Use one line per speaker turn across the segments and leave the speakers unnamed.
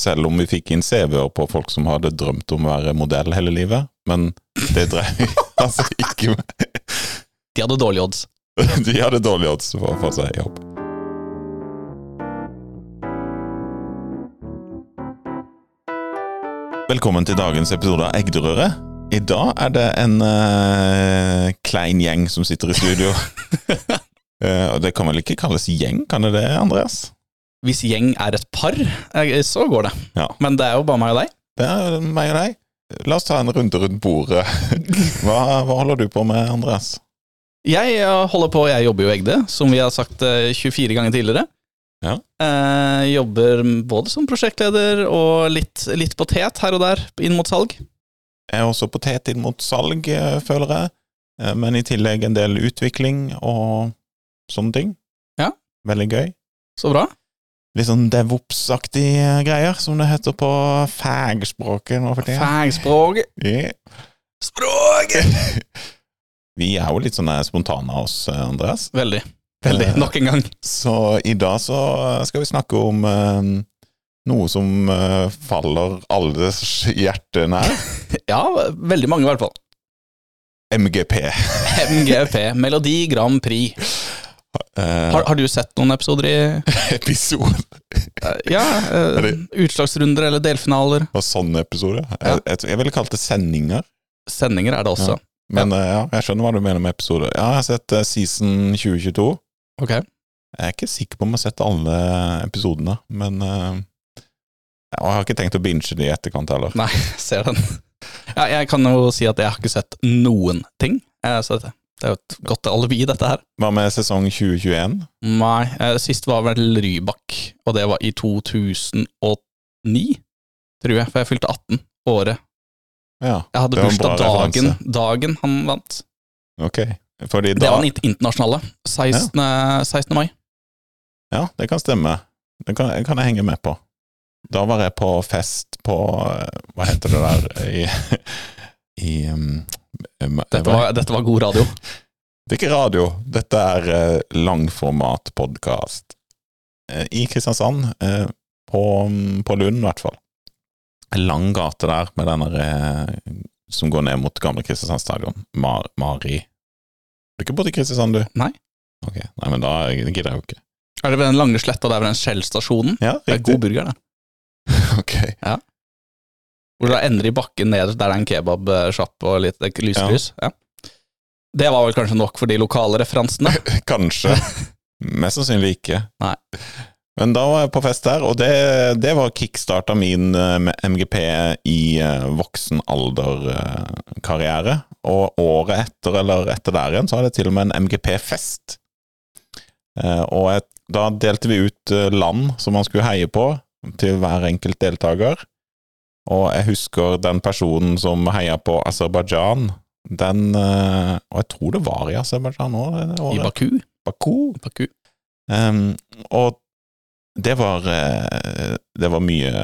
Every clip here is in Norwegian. Selv om vi fikk inn CV-er på folk som hadde drømt om å være modell hele livet. Men det drev altså ikke
De hadde dårlige odds.
De hadde dårlige odds for å få seg jobb. Velkommen til dagens episode av Egderøret. I dag er det en eh, klein gjeng som sitter i studio. Eh, og det kan vel ikke kalles gjeng, kan det det, Andreas?
Hvis gjeng er et par, eh, så går det.
Ja.
Men det er jo bare meg og deg.
Det er meg og deg. La oss ta en runde rundt bordet. Hva, hva holder du på med, Andreas?
Jeg eh, holder på, jeg jobber jo i Egde, som vi har sagt eh, 24 ganger tidligere.
Ja.
Eh, jobber både som prosjektleder og litt, litt på tet her og der inn mot salg.
er også potet inn mot salg, eh, føler jeg. Eh, Men i tillegg en del utvikling og sånne ting.
Ja.
Veldig gøy.
Så bra.
Litt sånn devops-aktige greier, som det heter på fagspråket nå for tida.
Fagspråk.
Ja.
Språk!
Vi er jo litt sånne spontane av oss, eh, Andreas.
Veldig. Veldig.
Eh,
Nok en gang.
Så i dag så eh, skal vi snakke om eh, noe som eh, faller alles hjerte nær.
Ja, veldig mange i hvert fall.
MGP.
MGP, Melodi Grand Prix.
Eh,
Har, har du sett noen episoder i
episode.
Ja,
Er
eh,
det-
utslagsrunder eller delfinaler.
Og sånne episoder.
Ja.
Jeg, jeg, jeg ville kalt det sendinger.
Sendinger er det også.
Men eh, ja, jeg skjønner hva du mener med episoder. Ja, jeg har sett eh, season 2022.
Ok.
Jeg er ikke sikker på om jeg har sett alle episodene, men eh, ja, og Jeg har ikke tenkt å binge de i etterkant heller.
Nei, ser den. Ja, jeg kan jo si at jeg har ikke sett noen ting. Eh, Så det det er jo et godt alibi, dette her.
Hva med sesong 2021?
Nei, eh, sist var vel Rybak, og det var i 2009, tror jeg. For jeg fylte 18 året.
Ja,
Jeg hadde
Det var en bra
bursdag dagen,
referanse.
dagen han vant.
ok. Fordi
Det
da
var den int- internasjonale. 16. 16. mai.
Ja, det kan stemme. Det kan, det kan jeg henge med på. Da var jeg på fest på eh, Hva heter det der i, i um, em-
Dette
hva-
var, dette var god radio.
Det er ikke radio, dette er eh, langformatpodkast. Eh, I Kristiansand, eh, på, mm, på Lund i hvert fall. En lang gate der med den der eh, som går ned mot gamle Kristiansand stadion. Mar Mari Du er ikke borte i Kristiansand, du?
Nei.
Ok, Nei, men da gidder jeg jo ikke.
Er det ved den lange sletta der ved den Shell-stasjonen?
Ja,
Det er god burger, det.
Ok.
Hvor det ender i bakken nederst, der det er en kebabsjapp og litt eh, lyslys. Ja. Det var vel kanskje nok for de lokale referansene.
Kanskje. Mest sannsynlig ikke.
Nei.
Men da var jeg på fest der, og det, det var kickstarta min eh, med MGP i eh, voksen alder-karriere. Og året etter eller etter der igjen, så hadde jeg til og med en MGP-fest. Eh, Og jeg, da delte vi ut eh, land som man skulle heie på, til hver enkelt deltaker. Og jeg husker den personen som heia på Aserbajdsjan. Den eh, Og jeg tror det var i Aserbajdsjan òg, det
I
året.
Baku.
Baku.
Baku.
Ehm, og det var eh, Det var mye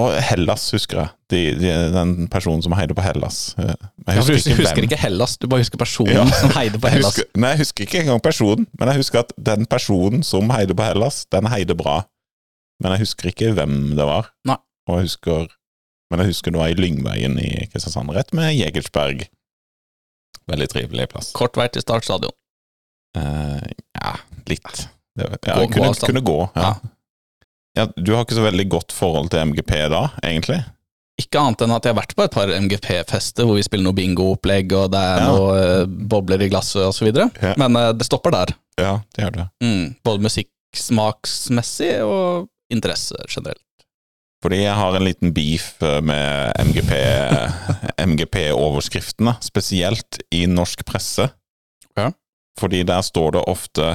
Og Hellas, husker jeg. De, de, den personen som heide på Hellas. Eh, Jeg
Ja,
husker
for du
ikke
husker,
hvem.
ikke Hellas, du bare husker personen
Ja.
som heide på
Jeg
Hellas.
husker, nei, jeg husker ikke engang personen, men jeg husker at den personen som heide på Hellas, den heide bra. Men jeg husker ikke hvem det var.
Nei.
Og jeg husker, men jeg husker det var i Lyngveien i Kristiansand, rett med Jegersberg. Veldig trivelig plass.
Kort vei til startstadion.
Eh, ja, litt. Det, ja,
Gå- gå
kunne,
avstand.
kunne gå. Ja. Ja, du har ikke så veldig godt forhold til MGP da, egentlig?
Ikke annet enn at jeg har vært på et par MGP-fester hvor vi spiller noe bingo-opplegg, og det er
Ja.
noe eh, bobler i glasset og så videre.
Ja.
Men eh, det stopper der.
Ja, det gjør det.
Mm. Både musikksmaksmessig og interesse generelt.
Fordi jeg har en liten beef eh, med MGP, eh, MGP-overskriftene, spesielt i norsk presse.
Ja.
Fordi der står det ofte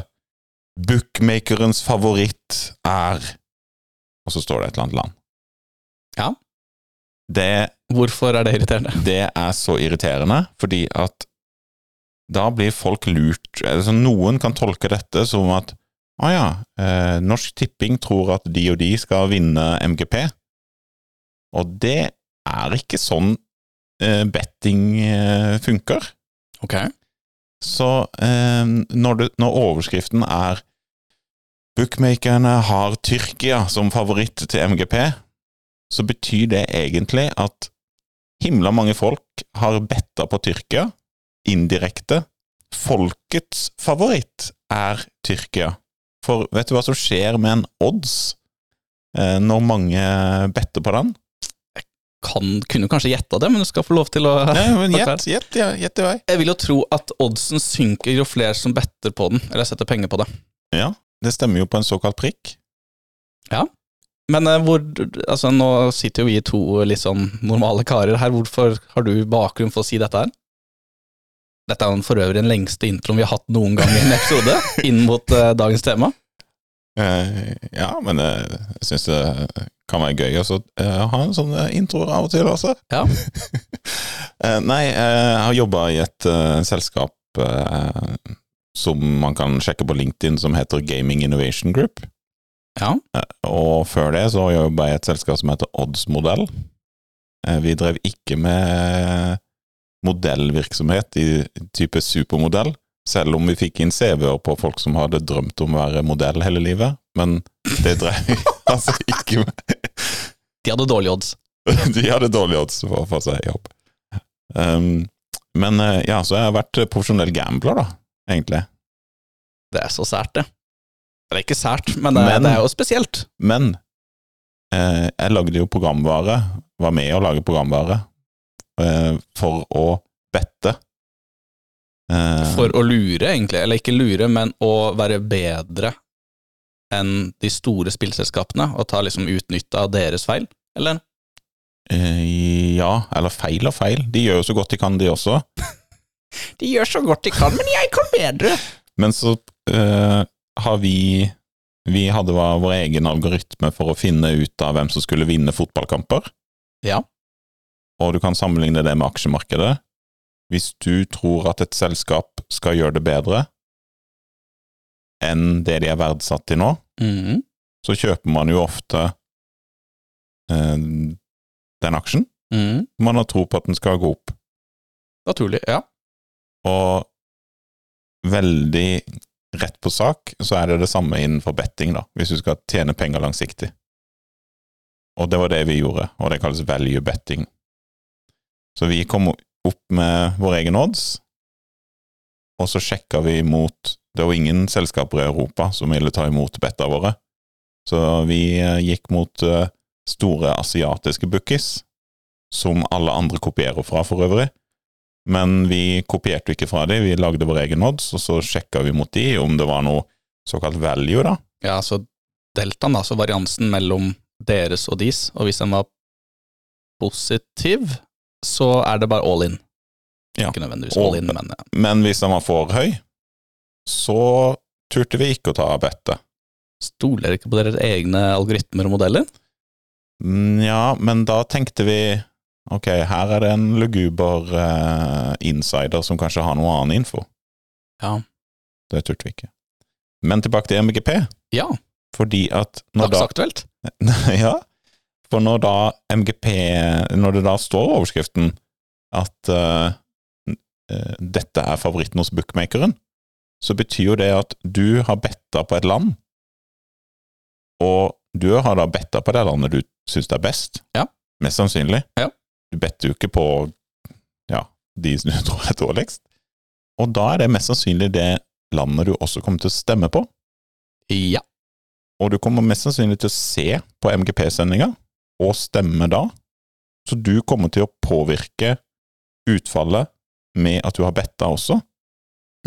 'Bookmakerens favoritt er' Og så står det et eller annet land.
Ja.
Det
Hvorfor er det irriterende?
Det er så irriterende, fordi at da blir folk lurt. Altså, noen kan tolke dette som at å ja, eh, Norsk Tipping tror at de og de skal vinne MGP. Og det er ikke sånn eh, betting eh, funker.
Ok.
Så eh, når, du, når overskriften er 'Bookmakerne har Tyrkia som favoritt til MGP', så betyr det egentlig at himla mange folk har betta på Tyrkia, indirekte. Folkets favoritt er Tyrkia. For vet du hva som skjer med en odds eh, når mange better på den?
Kan, kunne kanskje gjetta det, men du skal få lov til å
Nei, men Gjett gjett, ja, gjett i vei.
Jeg vil jo tro at oddsen synker jo flere som better på den, eller setter penger på det.
Ja, det stemmer jo på en såkalt prikk.
Men eh, hvor, altså, nå sitter jo vi to litt sånn normale karer her, hvorfor har du bakgrunn for å si dette her? Dette er jo for øvrig den lengste introen vi har hatt noen gang i en episode, inn mot eh, dagens tema.
Eh, ja, men eh, jeg syns det kan være gøy også, eh, å ha en sånn eh, intro av og til også.
Ja.
Eh, nei, eh, jeg har jobba i et eh, selskap eh, som man kan sjekke på LinkedIn, som heter Gaming Innovation Group.
Ja.
Eh, og før det så jobba jeg i et selskap som heter Oddsmodell. Eh, vi drev ikke med eh, modellvirksomhet i type supermodell, selv om vi fikk inn CV-er på folk som hadde drømt om å være modell hele livet. Men det drev vi altså ikke med.
De hadde dårlige odds.
De hadde dårlige odds for å få seg jobb. Um, men eh, ja, så jeg har vært profesjonell gambler, da, egentlig.
Det er så sært, det. Det er ikke sært, men det,
Men-
det er jo spesielt.
Men eh, jeg lagde jo programvare, var med å lage programvare, eh, for å bette. Eh,
For å lure, egentlig. Eller ikke lure, men å være bedre enn de store spillselskapene, og ta liksom utnytte av deres feil, eller?
eh, ja, eller feil og feil. De gjør jo så godt de kan, de også.
De gjør så godt de kan, men jeg kan bedre!
Men så eh, har vi Vi hadde hva- vår egen algoritme for å finne ut av hvem som skulle vinne fotballkamper.
Ja.
Og du kan sammenligne det med aksjemarkedet. Hvis du tror at et selskap skal gjøre det bedre enn det de er verdsatt til nå,
Mhm.
så kjøper man jo ofte eh, den aksjen.
Mhm.
Man har tro på at den skal gå opp.
Naturlig, ja.
Og veldig rett på sak, så er det det samme innenfor betting, da, hvis du skal tjene penger langsiktig. Og det var det vi gjorde, og det kalles value betting. Så vi kom opp med vår egen odds, og så sjekka vi mot Det var ingen selskaper i Europa som ville ta imot betta våre, så vi eh, gikk mot eh, store asiatiske bookies, som alle andre kopierer fra, for øvrig. Men vi kopierte ikke fra de, vi lagde vår egen odds, og så sjekka vi mot de om det var noe såkalt value, da.
Ja, så deltaen, da, så variansen mellom deres og deres, og hvis den var positiv, så er det bare all in.
Ja.
Ikke nødvendigvis
Og-
all in, men eh, ja.
Men hvis den var for høy, så turte vi ikke å ta bettet.
Stoler dere ikke på deres egne algoritmer og modeller?
Nja, men da tenkte vi ok, her er det en luguber eh, insider som kanskje har noe annen info.
Ja.
Det turte vi ikke. Men tilbake til MGP,
Ja,
fordi at når da
dagsaktuelt.
Ja, for når da MGP Når det da står i overskriften at eh, n- eh, dette er favoritten hos bookmakeren, så betyr jo det at du har betta på et land, og du har da betta på det landet du syns er best.
Ja.
Mest sannsynlig.
Ja.
Du better jo ikke på ja, de som du tror er dårligst. Og da er det mest sannsynlig det landet du også kommer til å stemme på.
Ja.
Og du kommer mest sannsynlig til å se på MGP-sendinga, og stemme da. Så du kommer til å påvirke utfallet med at du har betta også.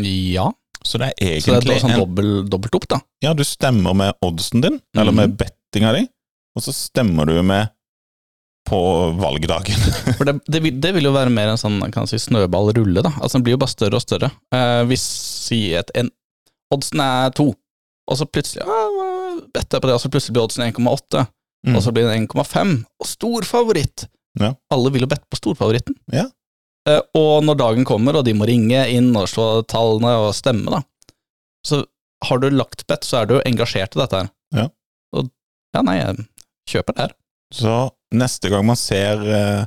Ja.
Så det er
Så det er
egentlig
da sånn
en
dobbel, dobbelt opp, da.
Ja, du stemmer med oddsen din, eller med bettinga di, og så stemmer du med på valgdagen.
For det, det, vil, det vil jo være mer en sånn kan man si, snøballrulle, da. Altså den blir jo bare større og større. Eh, hvis si et, en, oddsen er to, og så plutselig ja, better jeg på det, og så plutselig blir oddsen 1,8,
Mm.
og så blir den 1,5, og stor favoritt!
Ja.
Alle vil jo bette på storfavoritten.
Ja.
Eh, og når dagen kommer, og de må ringe inn og slå tallene og stemme, da, så har du lagt bett, så er du jo engasjert i dette her.
Ja.
Og ja, nei, jeg kjøper det her.
Så neste gang man ser eh,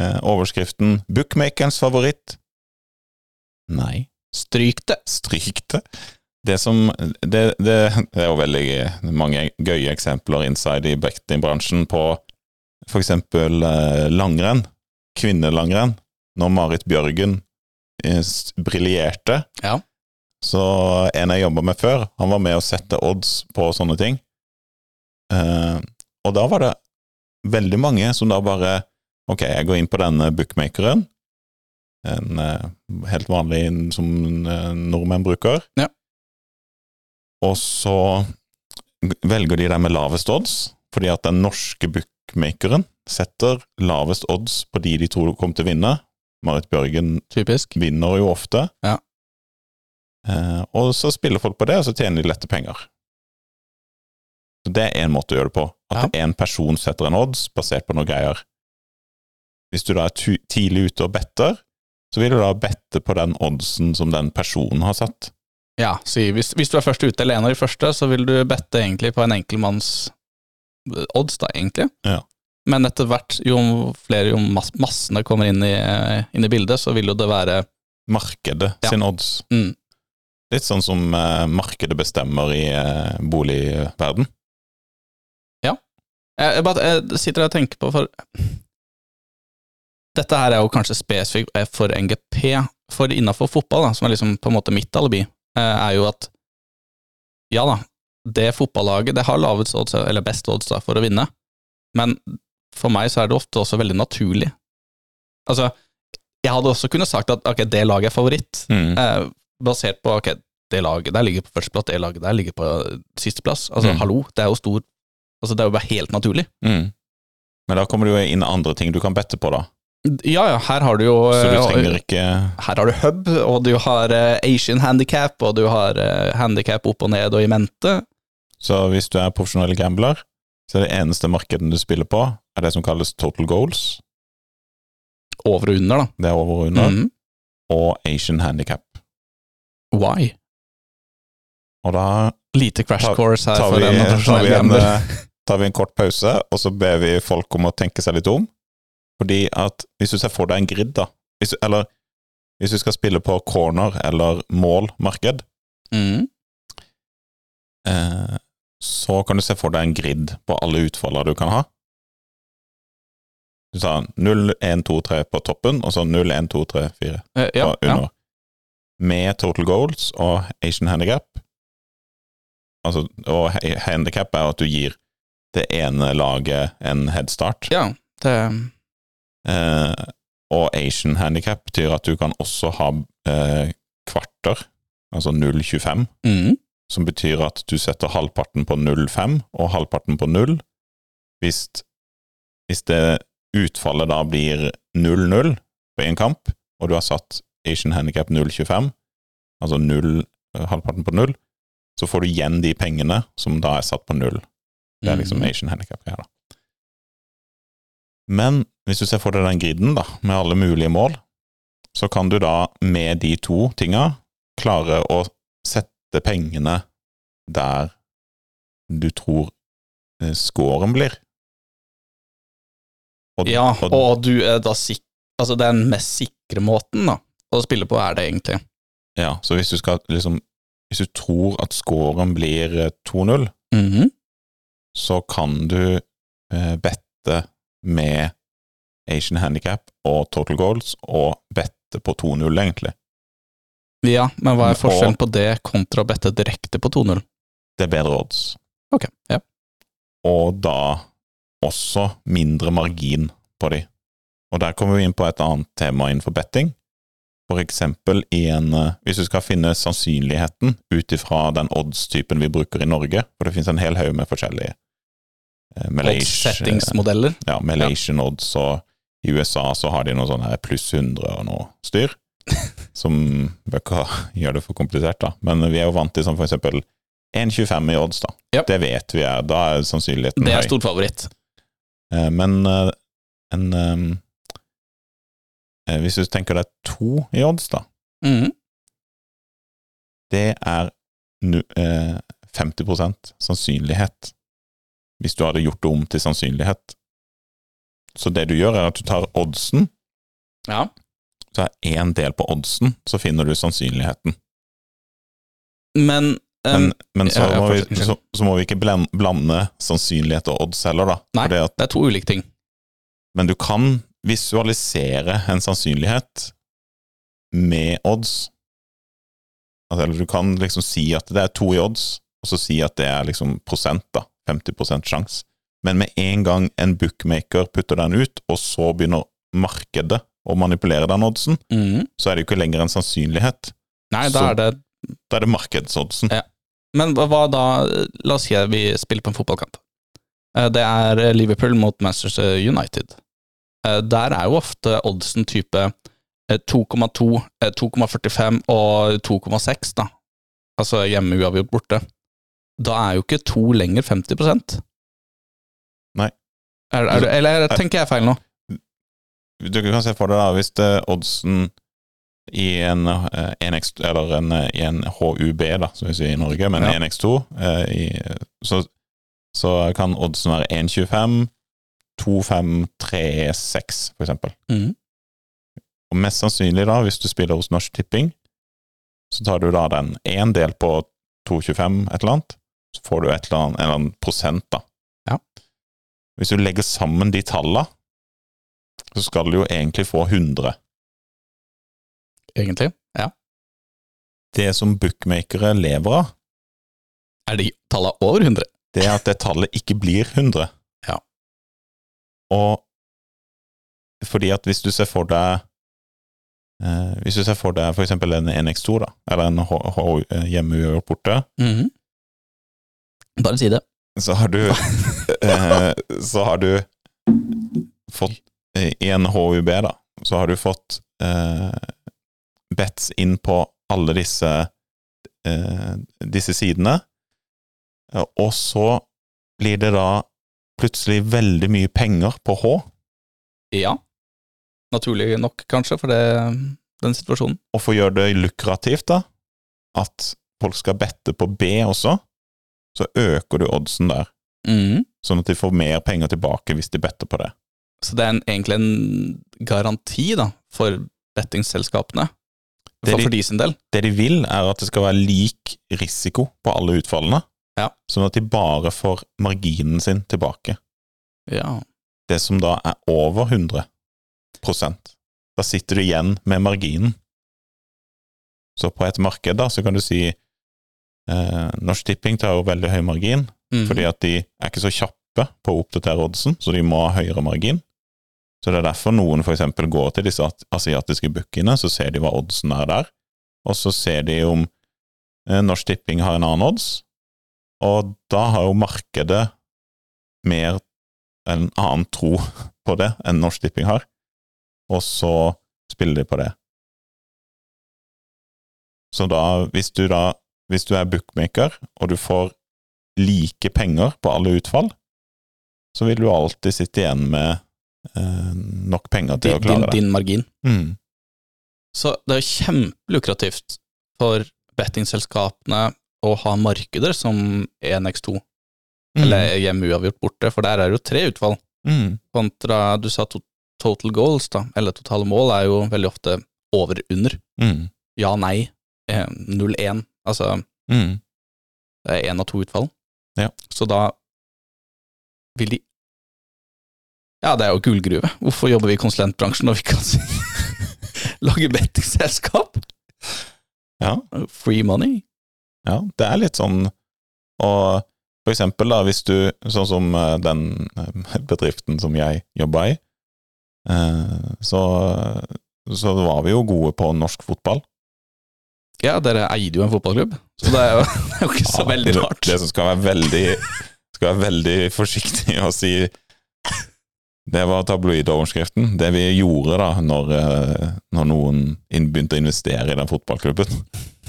eh, overskriften 'Bookmakerens favoritt' Nei.
Stryk det!
Stryk det. Det som Det, det, det er jo veldig mange gøye eksempler inside i bettingbransjen på for eksempel eh, langrenn, kvinnelangrenn, når Marit Bjørgen eh, s- briljerte,
Ja.
så en jeg jobba med før, han var med å sette odds på sånne ting. Eh, og da var det veldig mange som da bare Ok, jeg går inn på denne bookmakeren, en eh, helt vanlig en som eh, nordmenn bruker,
Ja.
og så velger de den med lavest odds, fordi at den norske bookmakeren setter lavest odds på de de tror kommer til å vinne. Marit Bjørgen
Typisk.
vinner jo ofte.
Ja.
Eh, og så spiller folk på det, og så tjener de lette penger. Så Det er én måte å gjøre det på. At én person setter en odds basert på noen greier. Hvis du da er tu- tidlig ute og better, så vil du da bette på den oddsen som den personen har satt.
Ja, si, hvis, hvis du er først ute eller en av de første, så vil du bette egentlig på en enkeltmanns eh, odds, da, egentlig.
Ja.
Men etter hvert, jo flere jo mass, massene kommer inn i, eh, inn i bildet, så vil jo det være
Markedet
Ja.
sin odds.
mm,
Litt sånn som eh, markedet bestemmer i eh, boligverden.
jeg, jeg, bare, jeg sitter og tenker på, for dette her er jo kanskje spesifikt eh, for NGP, for innafor fotball, da, som er liksom på en måte mitt alibi, eh, er jo at ja da, det fotballaget det har lavest odds, eller best odds da, for å vinne, men for meg så er det ofte også veldig naturlig. Altså, jeg hadde også kunnet sagt at ok, det laget er favoritt,
Mm.
eh, basert på ok, det laget der ligger på førsteplass, det laget der ligger på sisteplass. Altså,
Mm.
hallo, det er jo stor Altså, det er jo bare helt naturlig.
Mm. Men da kommer det jo inn andre ting du kan bette på, da.
Ja, ja, her har du jo
Så du
eh,
trenger ikke
Her har du hub, og du har eh, Asian handicap, og du har eh, handicap opp og ned og i mente.
Så hvis du er profesjonell gambler, så er det eneste markedet du spiller på, er det som kalles total goals.
Over og under, da.
Det er over og under.
Mhm.
Og Asian handicap.
Why?
Og da
Lite crash
Ta-
course her
tar
for
vi,
en
tar,
profesjonell
vi en,
gambler.
eh, tar vi en kort pause, og så ber vi folk om å tenke seg litt om. Fordi at hvis du ser for deg en grid, da, hvis, eller hvis du skal spille på corner eller mål-marked,
Mhm.
eh, så kan du se for deg en grid på alle utfolder du kan ha. Du tar 0, 1, 2, 3 på toppen, og så 0, 1, 2, 3, 4.
Eh, ja,
og
ja.
under. Med total goals og Asian handicap. Altså, og he- handicap er jo at du gir det ene laget en headstart.
ja det,
Eh, og Asian handicap betyr at du kan også ha eh, kvarter, altså 0,25,
mhm.
som betyr at du setter halvparten på 0,5 og halvparten på 0. Hvis, hvis det utfallet da blir 0-0 på én kamp, og du har satt Asian Handicap 0,25, altså 0, eh, halvparten på 0, så får du igjen de pengene som da er satt på 0. Det er liksom
Mhm.
Asian Handicap her, da. Men hvis du ser for deg den griden, da, med alle mulige mål, så kan du da med de to tinga klare å sette pengene der du tror eh, scoren blir. Og-
Ja,
og-
og du er da sik Altså, den mest sikre måten da, å spille på er det egentlig.
Ja, så hvis du skal liksom Hvis du tror at scoren blir eh, 2-0,
Mhm.
så kan du eh, bette med Asian Handicap og Total Goals og bette på 2-0, egentlig.
Ja, men hva
Men-
er forskjellen på det kontra å bette direkte på 2-0?
Det er bedre odds.
Ok, ja.
Og da også mindre margin på de. Og der kommer vi inn på et annet tema innenfor betting. For eksempel i en eh, Hvis du skal finne sannsynligheten ut ifra den oddstypen vi bruker i Norge, for det finnes en hel haug med forskjellige eh, Malaysia-
Odds-settingsmodeller.
ja, Malaysian odds, og i USA så har de noe sånn her pluss 100 og noe styr, som bør ikke ha- gjør det for komplisert, da. Men vi er jo vant til sånn for eksempel 1,25 i odds, da.
Japp.
Det vet vi er, da er sannsynligheten
Det er
høy.
stor favoritt.
Eh, Men eh, en eh, eh, Hvis du tenker deg to i odds, da,
Mhm.
det er nu, eh, 50 sannsynlighet. Hvis du hadde gjort det om til sannsynlighet. Så det du gjør, er at du tar oddsen,
Ja.
så er én del på oddsen, så finner du sannsynligheten.
Men,
Men,
ehm,
men så,
ja, ja,
må vi,
fortsett, unnskyld.
så, så må vi ikke blen- blande sannsynlighet og odds heller, da.
Nei.
For det at
det er to ulike ting.
Men du kan visualisere en sannsynlighet med odds. Altså, eller du kan liksom si at det er to i odds, og så si at det er liksom prosent, da. 50 sjanse. Men med en gang en bookmaker putter den ut, og så begynner markedet å manipulere den oddsen,
Mm.
så er det jo ikke lenger en sannsynlighet.
Nei, da
Så-
er det
Da er det markedsoddsen.
Men hva- hva da La oss si at vi spiller på en fotballkamp. Eh, Det er Liverpool mot Manchester United. Eh, Der er jo ofte oddsen type eh, 2,2, eh, 2,45 og 2,6, da. Altså hjemme uavgjort borte. Da er jo ikke to lenger 50
Nei.
Er, er, du- eller tenker jeg feil nå?
Du kan se for deg da, hvis det oddsen i en, eh, 1x, eller en, eh, i en HUB, da, som vi sier i Norge, men
Ja.
1x2, eh, i, så, så kan oddsen være 1,25, 2,536, for eksempel.
Mhm.
Og mest sannsynlig da, hvis du spiller hos Norsk Tipping, så tar du da den en del på 2,25 et eller annet, så får du et eller annet, en eller annen prosent da.
Ja.
Hvis du legger sammen de tallene, så skal du jo egentlig få 100.
Egentlig.
Det som bookmakere lever av,
Er de tallene over 100?
det er at det tallet ikke blir 100.
Ja.
Og fordi at hvis du ser for deg eh, Hvis du ser for deg for eksempel en 1x2, da, eller en H- H- eh, hjemme uavgjort borte,
Bare si det.
så har du eh, Så har du fått eh, I en HUB, da, så har du fått eh, bets inn på alle disse eh, disse sidene. Eh, Og så blir det da plutselig veldig mye penger på H,
Ja. Naturlig nok, kanskje, for det, den situasjonen.
og for å gjøre det lukrativt, da, at folk skal bette på B også, så øker du oddsen der,
Mhm.
sånn at de får mer penger tilbake hvis de better på det.
Så det er en, egentlig en garanti da, for bettingselskapene,
Det er
for,
de-
for de sin del.
Det de vil, er at det skal være lik risiko på alle utfallene,
Ja.
sånn at de bare får marginen sin tilbake.
Ja.
Det som da er over 100 Da sitter du igjen med marginen. Så på et marked, da, så kan du si eh, Norsk Tipping tar jo veldig høy margin,
Mhm.
fordi at de er ikke så kjappe på å oppdatere oddsen, så de må ha høyere margin. Så det er derfor noen for eksempel går til disse at- asiatiske bookene, så ser de hva oddsen er der, og så ser de om eh, Norsk Tipping har en annen odds, og da har jo markedet mer en annen tro på det enn Norsk Tipping har, og så spiller de på det. Så da, hvis du da, hvis du er bookmaker, og du får like penger på alle utfall, så vil du alltid sitte igjen med eh, nok penger til
Din,
å klare det.
din margin.
Mm.
Så det er jo kjempelukrativt for bettingselskapene å ha markeder som E 1x2, eller E hjemme uavgjort borte, for der er det jo tre utvalg.
mm.
Kontra du sa to, total goals, da, eller totale mål, er jo veldig ofte over-under.
Mm.
Ja, nei, eh, 0-1. Altså
Mm.
Det er én av to utfall.
Ja.
Så da vil de Ja, det er jo gullgruve. Hvorfor jobber vi i konsulentbransjen når vi kan si- lage bettingselskap?
Ja.
Free money.
Ja, det er litt sånn Og for eksempel da, hvis du Sånn som eh, den eh, bedriften som jeg jobba i, eh, så, så var vi jo gode på norsk fotball.
Ja, dere eide jo en fotballklubb, så det er jo, det er jo ikke så
Ja,
veldig
det-
rart.
Det som skal være veldig Skal være veldig forsiktig å si Det var tabloidoverskriften. Det vi gjorde da når, eh, når noen inn- begynte å investere i den fotballklubben,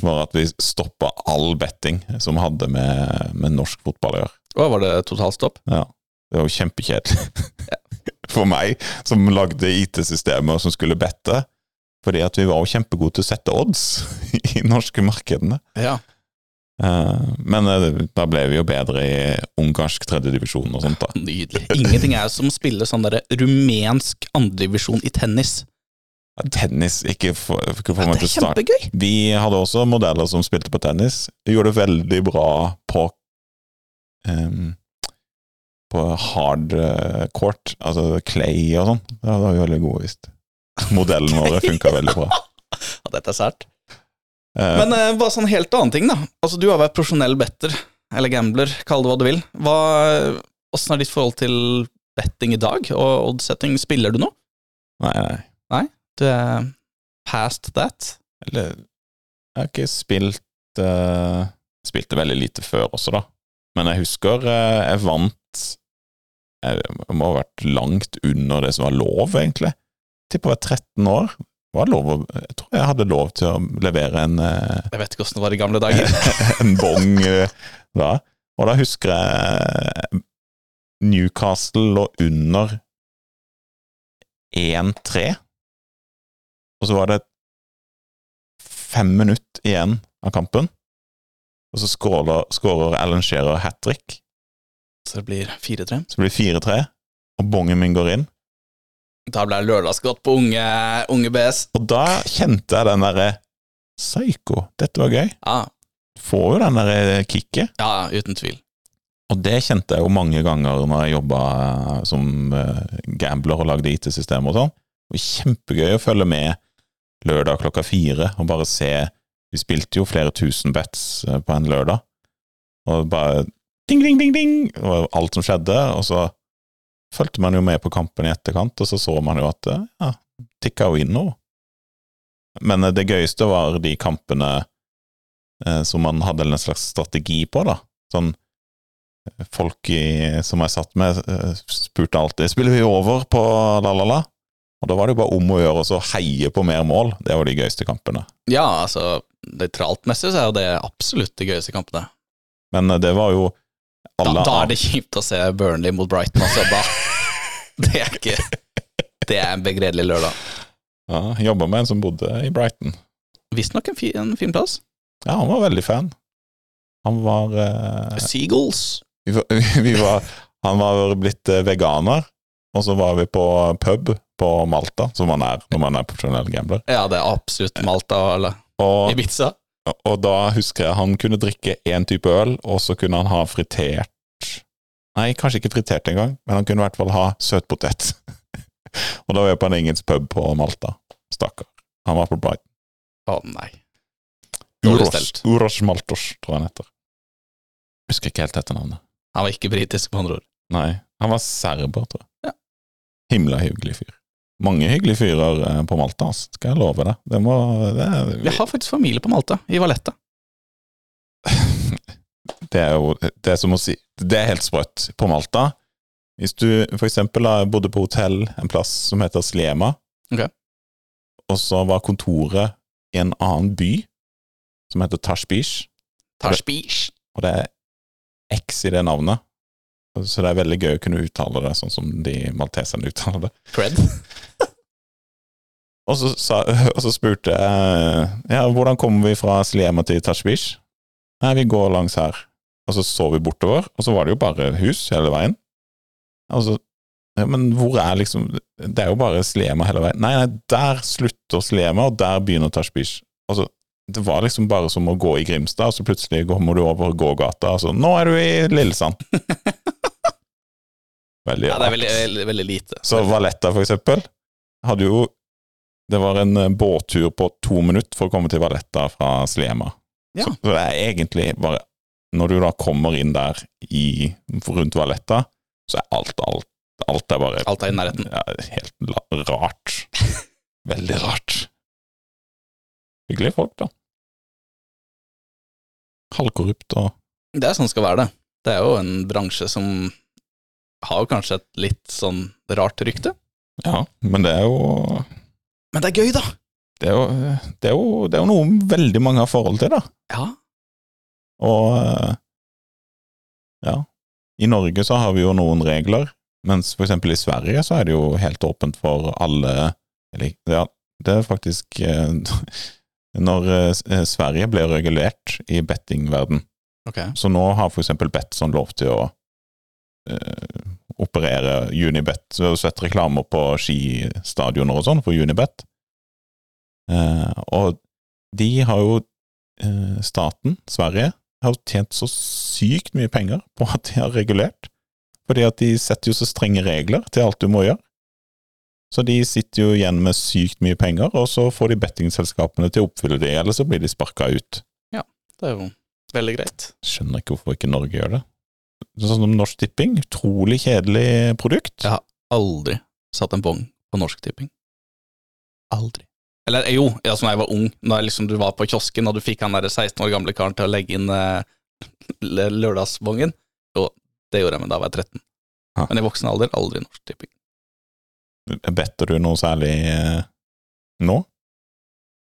var at vi stoppa all betting som hadde med, med norsk fotball å gjøre.
Å, var det totalstopp?
Ja. Det var jo kjempekjedelig. For meg, som lagde IT-systemer og som skulle bette. Fordi at vi var jo kjempegode til å sette odds i norske markedene.
Ja.
Eh, Men eh, da ble vi jo bedre i ungarsk tredjedivisjon og sånt, da.
Nydelig. Ingenting er som å spille sånn derre rumensk andredivisjon i tennis.
Ja, Tennis Ikke få ikke få
Ja,
meg til
det er
å starte.
kjempegøy!
Vi hadde også modeller som spilte på tennis. Vi Gjorde det veldig bra på eh, ehm, på hard eh, court, altså clay og sånn. Ja, det var jo veldig gode visst. Modellen vår funka veldig bra.
Ja, dette er sært.
Eh,
Men eh, bare sånn helt annen ting, da. Altså, du har vært profesjonell better, eller gambler, kall det hva du vil. Hva, hvordan er ditt forhold til betting i dag, og oddsetting? Spiller du nå?
nei, nei.
Du er past that?
Eller Jeg har ikke spilt eh, Spilte veldig lite før også, da. Men jeg husker eh, jeg vant Jeg må ha vært langt under det som var lov, egentlig. Tipper jeg var 13 år. Var det lov å, jeg tror jeg hadde lov til å levere en eh,
Jeg vet ikke åssen det var i gamle dager.
en bong eh, da. Og da husker jeg Newcastle lå under 1-3. Og så var det fem minutter igjen av kampen. Og så skåler- skårer Alan Shearer hat trick,
Så det blir 4-3.
så blir det 4-3. Og bongen min går inn.
Da ble det lørdagsgodt på unge, unge BS.
Og da kjente jeg den derre Psycho, dette var gøy.
Ja,
Får jo den derre kicket.
ja, uten tvil.
Og det kjente jeg jo mange ganger når jeg jobba som eh, gambler og lagde IT-systemer og sånn. Det var kjempegøy å følge med lørdag klokka fire og bare se Vi spilte jo flere tusen bets eh, på en lørdag, og bare ding, ding, ding, ding, og alt som skjedde, og så fulgte man jo med på kampen i etterkant, og så så man jo at eh, ja, tikka jo inn noe. Men eh, det gøyeste var de kampene eh, som man hadde en slags strategi på, da. Sånn folk i, som jeg satt med, eh, spurte alltid Spiller vi over på la-la-la? Og da var det jo bare om å gjøre å heie på mer mål. Det var de gøyeste kampene.
Ja, altså, nøytraltmessig så er jo det absolutt de gøyeste kampene.
Men eh, det var jo
Da,
alle
da er det kjipt å se Burnley mot Brighton, altså. Da. Det er ikke Det er en begredelig lørdag.
ja, Jobba med en som bodde i Brighton.
Visstnok en, fi, en fin plass.
Ja, han var veldig fan. Han var eh,
Seagulls.
vi, var- vi var Han var blitt eh, veganer, og så var vi på pub på Malta, som man er når man er profesjonell gambler.
Ja, det er absolutt Malta eller
Og
Ibiza.
Og da husker jeg han kunne drikke én type øl, og så kunne han ha fritert Nei, kanskje ikke fritert engang, men han kunne i hvert fall ha søtpotet. og da var jeg på en engelsk pub på Malta. Stakkar. Han var på Brighton.
Å nei. Dårlig
Uros,
stelt.
Uros Maltos, tror jeg han heter. Husker ikke helt etternavnet.
Han var ikke britisk, med andre ord.
Nei, han var serber, tror jeg.
Ja.
Himla hyggelig fyr. Mange hyggelige fyrer eh, på Malta, ass. skal jeg love deg. Det må det,
Vi har faktisk familie på Malta, i Valletta.
det er jo det er som å si Det er helt sprøtt på Malta. Hvis du for eksempel da, bodde på hotell en plass som heter Slema,
Ok.
og så var kontoret i en annen by som heter Tashbish,
Tarspish.
og det er X i det navnet, så det er veldig gøy å kunne uttale det sånn som de malteserne uttaler det.
Fred.
Og så, sa, og så spurte jeg ja, hvordan kommer vi fra Slema til Tashbish? Nei, vi går langs her. Og så så vi bortover, og så var det jo bare hus hele veien. Og så, ja, men hvor er liksom Det er jo bare Slema hele veien. Nei, nei, der slutter Slema, og der begynner Tashbish. Og så, det var liksom bare som å gå i Grimstad, og så plutselig kommer du over gågata, og så Nå er du i Lillesand! Veldig
Ja, det er
rart.
veldig, veldig, veldig lite.
Så Valletta, for eksempel, hadde jo Det var en eh, båttur på to minutter for å komme til Valletta fra Slema.
Ja.
Så, så det er egentlig bare Når du da kommer inn der i, rundt Valletta, så er alt, alt, alt er bare
Alt er i nærheten.
ja, helt la- rart. Veldig rart. Hyggelige folk, da. Halvkorrupt og
Det er sånn det skal være det. Det er jo en bransje som har jo kanskje et litt sånn rart rykte.
Ja, men det er jo
Men det er gøy, da!
Det er jo, det er jo, det er jo noe veldig mange har forhold til, da.
Ja.
Og eh, ja, i Norge så har vi jo noen regler, mens for eksempel i Sverige så er det jo helt åpent for alle eller, Ja, det er faktisk eh, Når eh, S- eh, Sverige ble regulert i bettingverden,
Ok.
så nå har for eksempel Betson lov til å eh, operere Unibet. Vi har jo sett reklamer på skistadioner og sånn for Unibet. Eh, og de har jo eh, Staten, Sverige, har jo tjent så sykt mye penger på at de har regulert. Fordi at de setter jo så strenge regler til alt du må gjøre. Så de sitter jo igjen med sykt mye penger, og så får de bettingselskapene til å oppfylle det, eller så blir de sparka ut.
Det er jo veldig greit.
Skjønner ikke hvorfor ikke Norge gjør det. Sånn som Norsk Tipping, utrolig kjedelig produkt.
Ja. Aldri satt en bong på Norsk Tipping. Aldri. Eller eh, jo, altså da jeg var ung, når jeg liksom, du var på kiosken og du fikk han der 16 år gamle karen til å legge inn eh, l- lørdagsbongen. Jo, det gjorde jeg, men da var jeg 13.
Ja.
Men i voksen alder, aldri Norsk Tipping.
Better du noe særlig eh, nå?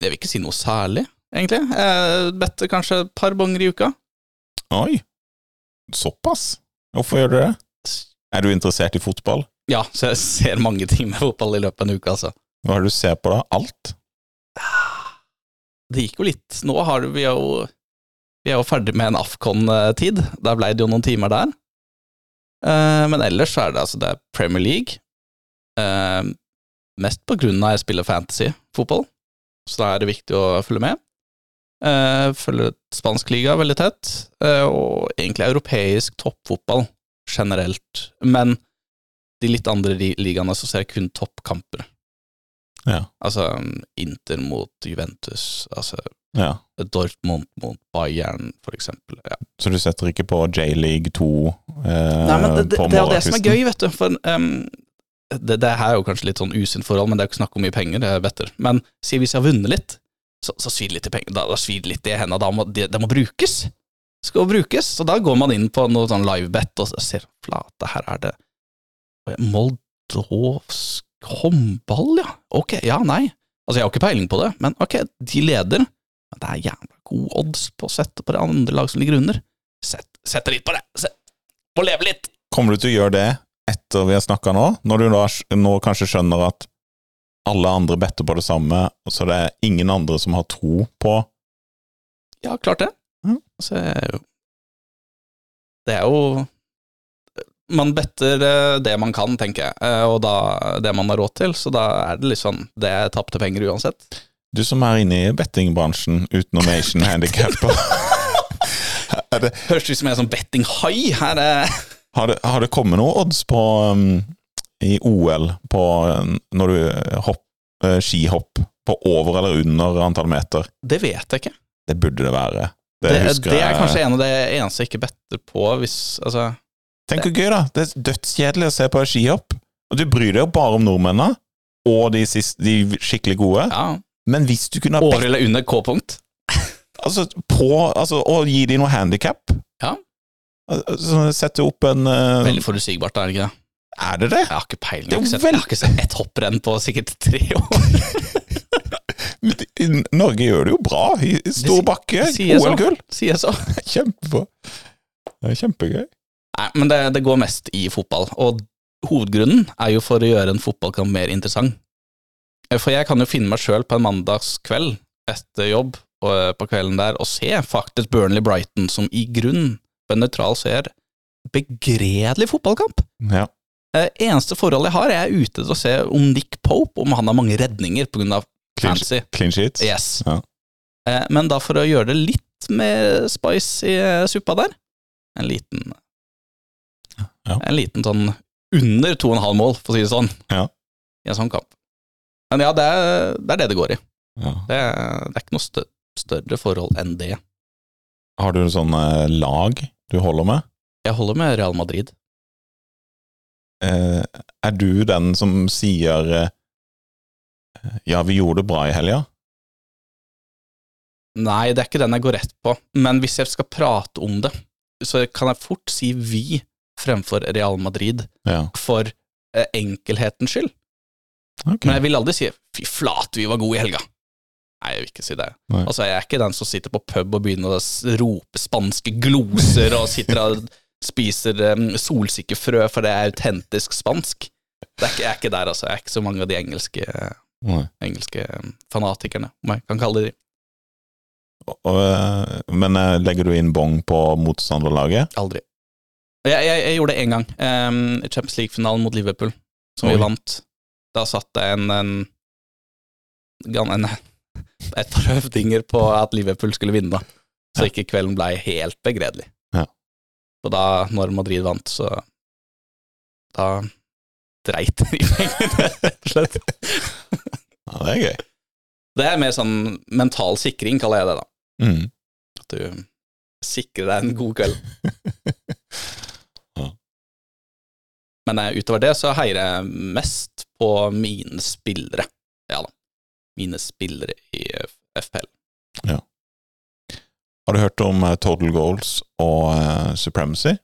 Jeg vil ikke si noe særlig, egentlig. Jeg bedte kanskje et par bonger i uka.
Oi, såpass? Hvorfor gjør du det? Er du interessert i fotball?
Ja, så jeg ser mange ting med fotball i løpet av en uke, altså.
Hva er det du ser på da? Alt?
Det gikk jo litt. Nå har du, vi er jo, vi er jo ferdig med en Afcon-tid. Da ble det jo noen timer der. Eh, men ellers så er det altså det er Premier League. Eh, mest på grunn av jeg spiller fantasy-fotball, så da er det viktig å følge med. Eh, følger spansk liga veldig tett, eh, og egentlig europeisk toppfotball generelt. Men de litt andre li- ligaene så ser jeg kun toppkamper.
Ja.
Altså Inter mot Juventus, altså
Ja.
Dortmund mot Bayern, for eksempel. Ja.
Så du setter ikke på J-League 2 eh,
Nei, men det, det,
på
det er jo det som er
morgenkvisten?
gøy, vet du. For, ehm, det, det her er jo kanskje litt sånn usunt forhold, men det er jo ikke snakk om mye penger, det er better. Men si hvis jeg har vunnet litt, så, så svir det litt i penger. Da, da svir det litt i hendene, da må det, det må brukes. Skal jo brukes. Så da går man inn på noe sånn livebet og ser flate, her er det Moldovsk håndball, ja. Ok, ja, nei. Altså, jeg har ikke peiling på det, men ok, de leder. Men det er jævla gode odds på å sette på det andre lag som ligger under. Sett, sette litt på det. Sett, må leve litt.
Kommer du til å gjøre det etter vi har snakka nå, når du da, sk- nå kanskje skjønner at alle andre better på det samme, så det er ingen andre som har tro på
Ja, klart det.
Mhm.
Så er jeg jo Det er jo Man better eh, det man kan, tenker jeg, eh, og da det man har råd til, så da er det litt sånn Det er tapte penger uansett.
Du som er inne i bettingbransjen utenom Asian Handicapper, er det,
Høres ut som jeg er sånn betting-hai her. eh.
har, det, har det kommet noe odds på um, i OL på um, når du hopp, eh, skihopp på over eller under antall meter?
Det vet jeg ikke.
Det burde det være.
Det, det,
husker
er
jeg-
kanskje en av det eneste jeg ikke better på, hvis Altså,
Tenk hvor gøy, da! Det er dødskjedelig å se på skihopp. Og du bryr deg jo bare om nordmennene, og de, sist- de skikkelig gode.
ja.
Men hvis du kunne ha
Over
bet,
eller under K-punkt.
altså, på altså, Og gi dem noe handikap
Ja.
Sette opp en eh,
Veldig forutsigbart, er det ikke det?
Er det det?
Jeg har ikke peiling.
Det er
Jeg har
jo
ikke sett, jeg har ikke sett ett hopprenn på sikkert tre år.
Men i- i Norge gjør det jo bra. I i stor
Det si-
bakke,
det sier jeg så.
OL-gull.
Sier jeg så.
Kjempebra. Det er kjempegøy.
Nei, men det, det går mest i fotball, og hovedgrunnen er jo for å gjøre en fotballkamp mer interessant. Eh, For jeg kan jo finne meg sjøl på en mandagskveld etter jobb og, eh, på kvelden der og se faktisk Burnley Brighton, som i grunn, på en nøytral seer, begredelig fotballkamp.
Ja.
Eh, eneste forholdet jeg har, er jeg er ute til å se om Nick Pope, om han har mange redninger på grunn av
Clean,
fancy.
clean sheets.
Yes.
Ja.
Eh, men da for å gjøre det litt mer spice i eh, suppa der, en liten
Ja.
En liten sånn under 2,5 mål, for å si det sånn,
Ja.
i en sånn kamp. Men ja, det er det er det, det går i.
Ja.
Det er, det er ikke noe stø større forhold enn det.
Har du sånne lag du holder med?
Jeg holder med Real Madrid.
Eh, er du den som sier eh, Ja, vi gjorde det bra i helga.
Nei, det er ikke den jeg går rett på, men hvis jeg skal prate om det, så kan jeg fort si vi fremfor Real Madrid
Ja.
for eh, enkelhetens skyld.
ok.
Men jeg vil aldri si 'fy flate, vi var gode i helga'. Nei, jeg vil ikke si det.
Nei.
Altså, Jeg er ikke den som sitter på pub og begynner å s- rope spanske gloser og sitter og spiser em, solsikkefrø, for det er autentisk spansk. Det er ikke, jeg er ikke der, altså. Jeg er ikke så mange av de engelske,
Nei.
engelske em, fanatikerne, om jeg kan kalle det de.
Og- og, eh, men eh, legger du inn bong på motstanderlaget?
Aldri. Jeg, jeg, jeg gjorde det én gang, em, i Champions League-finalen mot Liverpool, som
Oi.
vi vant. Da satt det en, en, gan- en et par høvdinger på at Liverpool skulle vinne, da. Så ikke kvelden blei helt begredelig.
Ja.
Og da, når Madrid vant, så Da dreit jeg i pengene, rett og slett.
Ja, det er gøy.
Det er mer sånn mental sikring, kaller jeg det, da.
Mm.
At du sikrer deg en god kveld.
Ja.
Men eh, utover det så heier jeg mest på mine spillere. Ja da. Mine spillere i eh, FPL.
Har du hørt om eh, Total Goals og eh, Supremacy?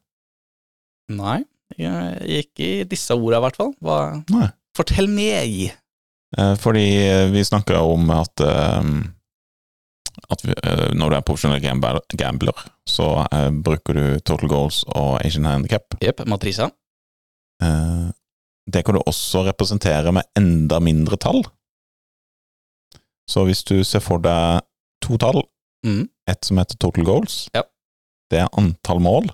Nei, jeg- ikke i disse orda i hvert fall. Hva?
Nei.
Fortell meg!
Eh, Fordi eh, vi snakka om at, eh, at vi, eh, når du er profesjonell gambler, gambler så eh, bruker du total goals og Asian handicap.
Jepp, Matrisa.
Eh, det kan du også representere med enda mindre tall. Så hvis du ser for deg to tall,
Mhm.
ett som heter total goals,
Ja.
det er antall mål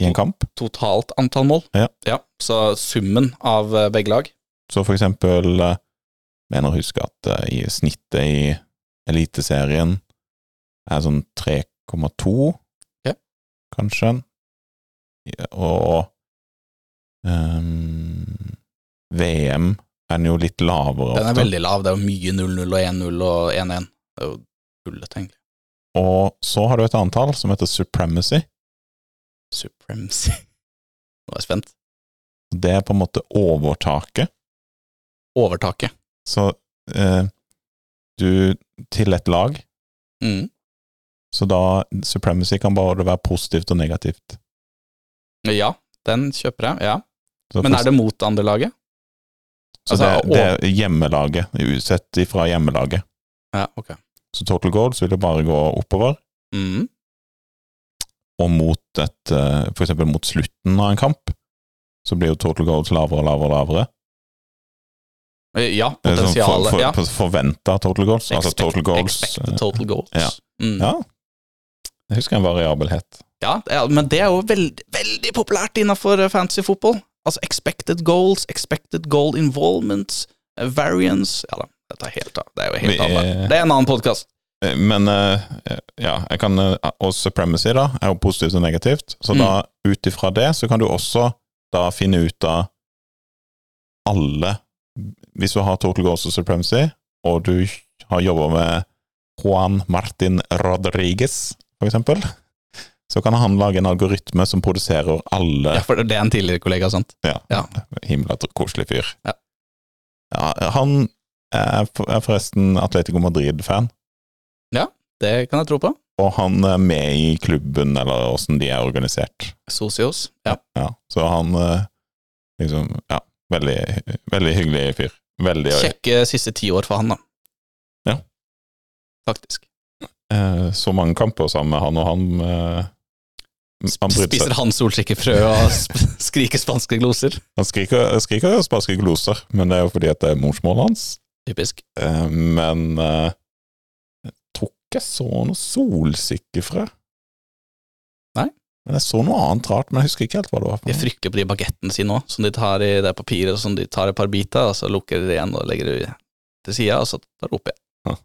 i en kamp.
Totalt antall mål.
Ja.
Så summen av eh, begge lag.
Så for eksempel eh, mener å huske at eh, i snittet i Eliteserien er sånn 3,2,
Ja.
kanskje. Ja, Og ehm, VM er den jo litt lavere
Den er
ofte.
veldig lav. Det er jo mye 0-0 og 1-0 og 1-1. Det er jo tullete, egentlig.
Og så har du et annet tall som heter supremacy.
Supremacy. Nå er jeg spent.
Det er på en måte overtaket.
Overtaket.
Så eh, du Til et lag.
Mm.
Så da supremacy kan bare være positivt og negativt.
Ja, den kjøper jeg. ja.
Så
Men er det mot andre laget?
Så
Altså,
det, det er hjemmelaget, sett ifra hjemmelaget.
Ja, ok.
Så total goals vil jo bare gå oppover,
Mm.
og mot et, eh, for eksempel mot slutten av en kamp, så blir jo total goals lavere og lavere og lavere.
Eh, Ja,
Det er sånn
potensialet.
For,
ja.
for, Forventa total goals, altså
Expect-
total goals.
Expected
eh,
total goals.
ja.
Mm.
Ja. Jeg husker en variabelhet.
Ja, ja, men det er jo veldig, veldig populært innenfor eh, fantasy fotball. Altså expected goals, expected goal involvements, eh, variance Ja da, dette er helt av. Det er jo helt
Vi,
av.
eh,
Det er en annen podkast.
Eh, Men eh, ja, jeg kan, eh, og supremacy da, er jo positivt og negativt, så
Mm.
da ut ifra det så kan du også da finne ut av alle Hvis du har total goals og supremacy, og du har jobba med Juan Martin Rodriguez, for eksempel, så kan han lage en algoritme som produserer alle
Ja, for det er en tidligere kollega, sant?
ja.
Ja.
Himla tr- koselig fyr.
Ja.
Ja, han er for- er forresten Atletico Madrid-fan.
Det kan jeg tro på.
Og han er med i klubben, eller åssen de er organisert.
Socios. Ja.
Ja, så han eh, liksom Ja, veldig, veldig hyggelig fyr. Veldig
Sjekke siste ti år for han, da.
Ja.
Faktisk.
eh, Så mange kamper sammen med han, og han eh, Han brydde
Spiser
seg.
han solsikkefrø og sp- skriker spanske gloser.
Han skriker, skriker spanske gloser, men det er jo fordi at det er morsmålet hans.
Typisk.
Eh, Men eh, jeg tror ikke jeg så noe solsikkefrø.
Nei.
Men jeg så noe annet rart, men jeg husker ikke helt hva det var. for
De
noe.
frykter på de bagettene sine òg, som de tar i det papiret som de tar et par biter, og så lukker de det igjen og legger det til sida, og så tar de opp
Ja.
igjen.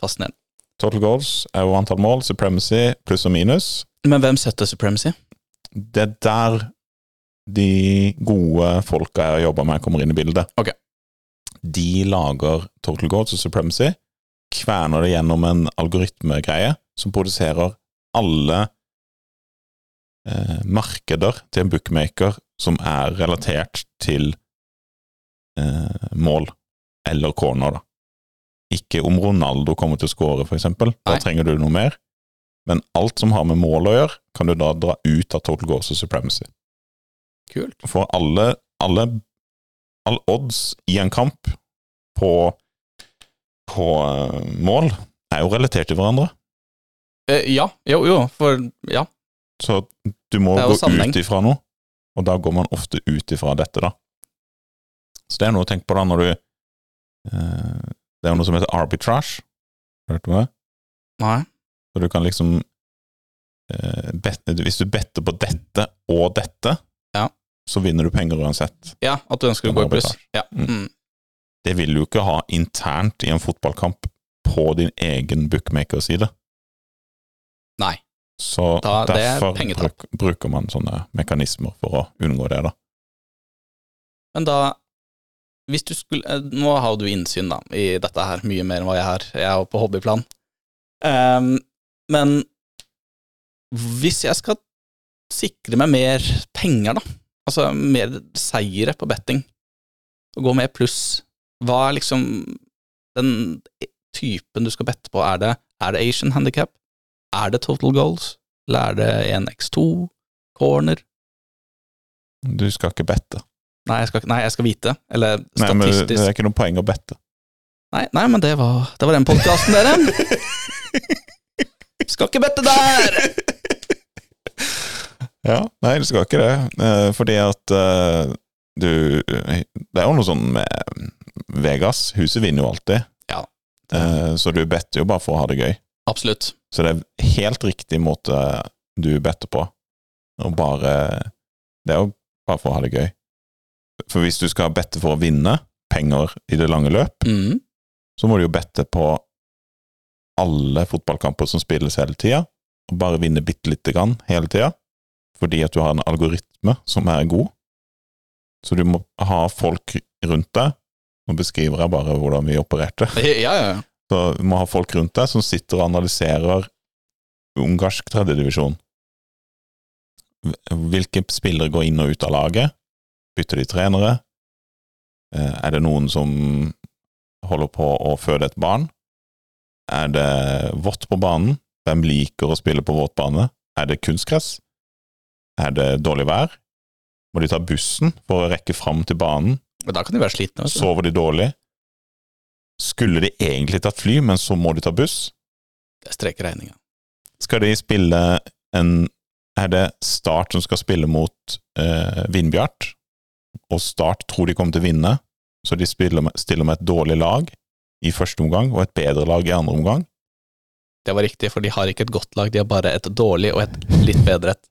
Fascinerende.
Total goals er jo antall mål, supremacy pluss og minus.
Men hvem setter supremacy?
det er der de gode folka jeg har jobba med, kommer inn i bildet.
Ok.
De lager Total Goals og Supremacy, kverner det gjennom en algoritmegreie som produserer alle eh, markeder til en bookmaker som er relatert til eh, mål eller corner, da. Ikke om Ronaldo kommer til å score, for eksempel. Da
Nei.
trenger du noe mer. Men alt som har med mål å gjøre, kan du da dra ut av Total Goals og Supremacy.
Kult.
For alle, alle, alle odds i en kamp på, på eh, mål er jo relatert til hverandre.
Eh, ja, jo, jo, for ja.
Så du må
Det er jo
gå
sammenheng.
ut ifra noe, og da går man ofte ut ifra dette, da. Så det er noe å tenke på da når du eh, Det er jo noe som heter arbitrage. Hørte du om det?
Nei.
Så du kan liksom eh, bet- Hvis du better på dette og dette,
Ja.
så vinner du penger uansett.
Ja, at du ønsker å
Den
gå i pluss.
arbitrasje.
Ja.
Mm.
Mm.
Det vil du ikke ha internt i en fotballkamp på din egen bookmakerside.
Nei.
Så
Da- det er
derfor
pengetap.
bruk, bruker man sånne mekanismer for å unngå det, da.
Men da hvis du skulle, eh, Nå har jo du innsyn da, i dette her, mye mer enn hva jeg har. Jeg er jo på hobbyplan. Ehm, men hvis jeg skal sikre meg mer penger, da, altså mer seire på betting, og gå mer pluss, hva er liksom den typen du skal bette på? Er det, er det Asian handicap? Er det total goals? Eller er det 1x2? Corner?
Du skal ikke bette.
Nei, jeg skal, ikke- nei, jeg skal vite. Eller
Nei, men
statistisk
det er ikke noe poeng å bette.
Nei, nei, men det var, det var den podkasten, dere. Skal ikke bette der!
Ja, nei, du skal ikke det. Eh, fordi at eh, du eh, Det er jo noe sånn med Vegas. Huset vinner jo alltid.
Ja.
Eh, så du better jo bare for å ha det gøy.
Absolutt.
Så det er helt riktig måte du better på. Og bare Det er jo bare for å ha det gøy. For hvis du skal bette for å vinne penger i det lange løp,
Mm.
så må du jo bette på alle fotballkamper som spilles hele tida, og bare vinne bitte lite grann hele tida, fordi at du har en algoritme som er god. Så du må ha folk rundt deg. Nå beskriver jeg bare hvordan vi opererte.
Ja, ja, ja.
Så du må ha folk rundt deg som sitter og analyserer ungarsk tredjedivisjon. Hvilke spillere går inn og ut av laget? Bytter de trenere? Eh, Er det noen som holder på å føde et barn? Er det vått på banen? Hvem liker å spille på våtbane? Er det kunstgress? Er det dårlig vær? Må de ta bussen for å rekke fram til banen?
Men da kan de være slitne. vet du.
Sover de dårlig? Skulle de egentlig tatt fly, men så må de ta buss?
Det er strek i regninga.
Skal de spille en Er det Start som skal spille mot eh, Vindbjart? Og Start tror de kommer til å vinne, så de spiller med, stiller med et dårlig lag i første omgang og et bedre lag i andre omgang.
Det var riktig, for de har ikke et godt lag, de har bare et dårlig og et litt bedre et.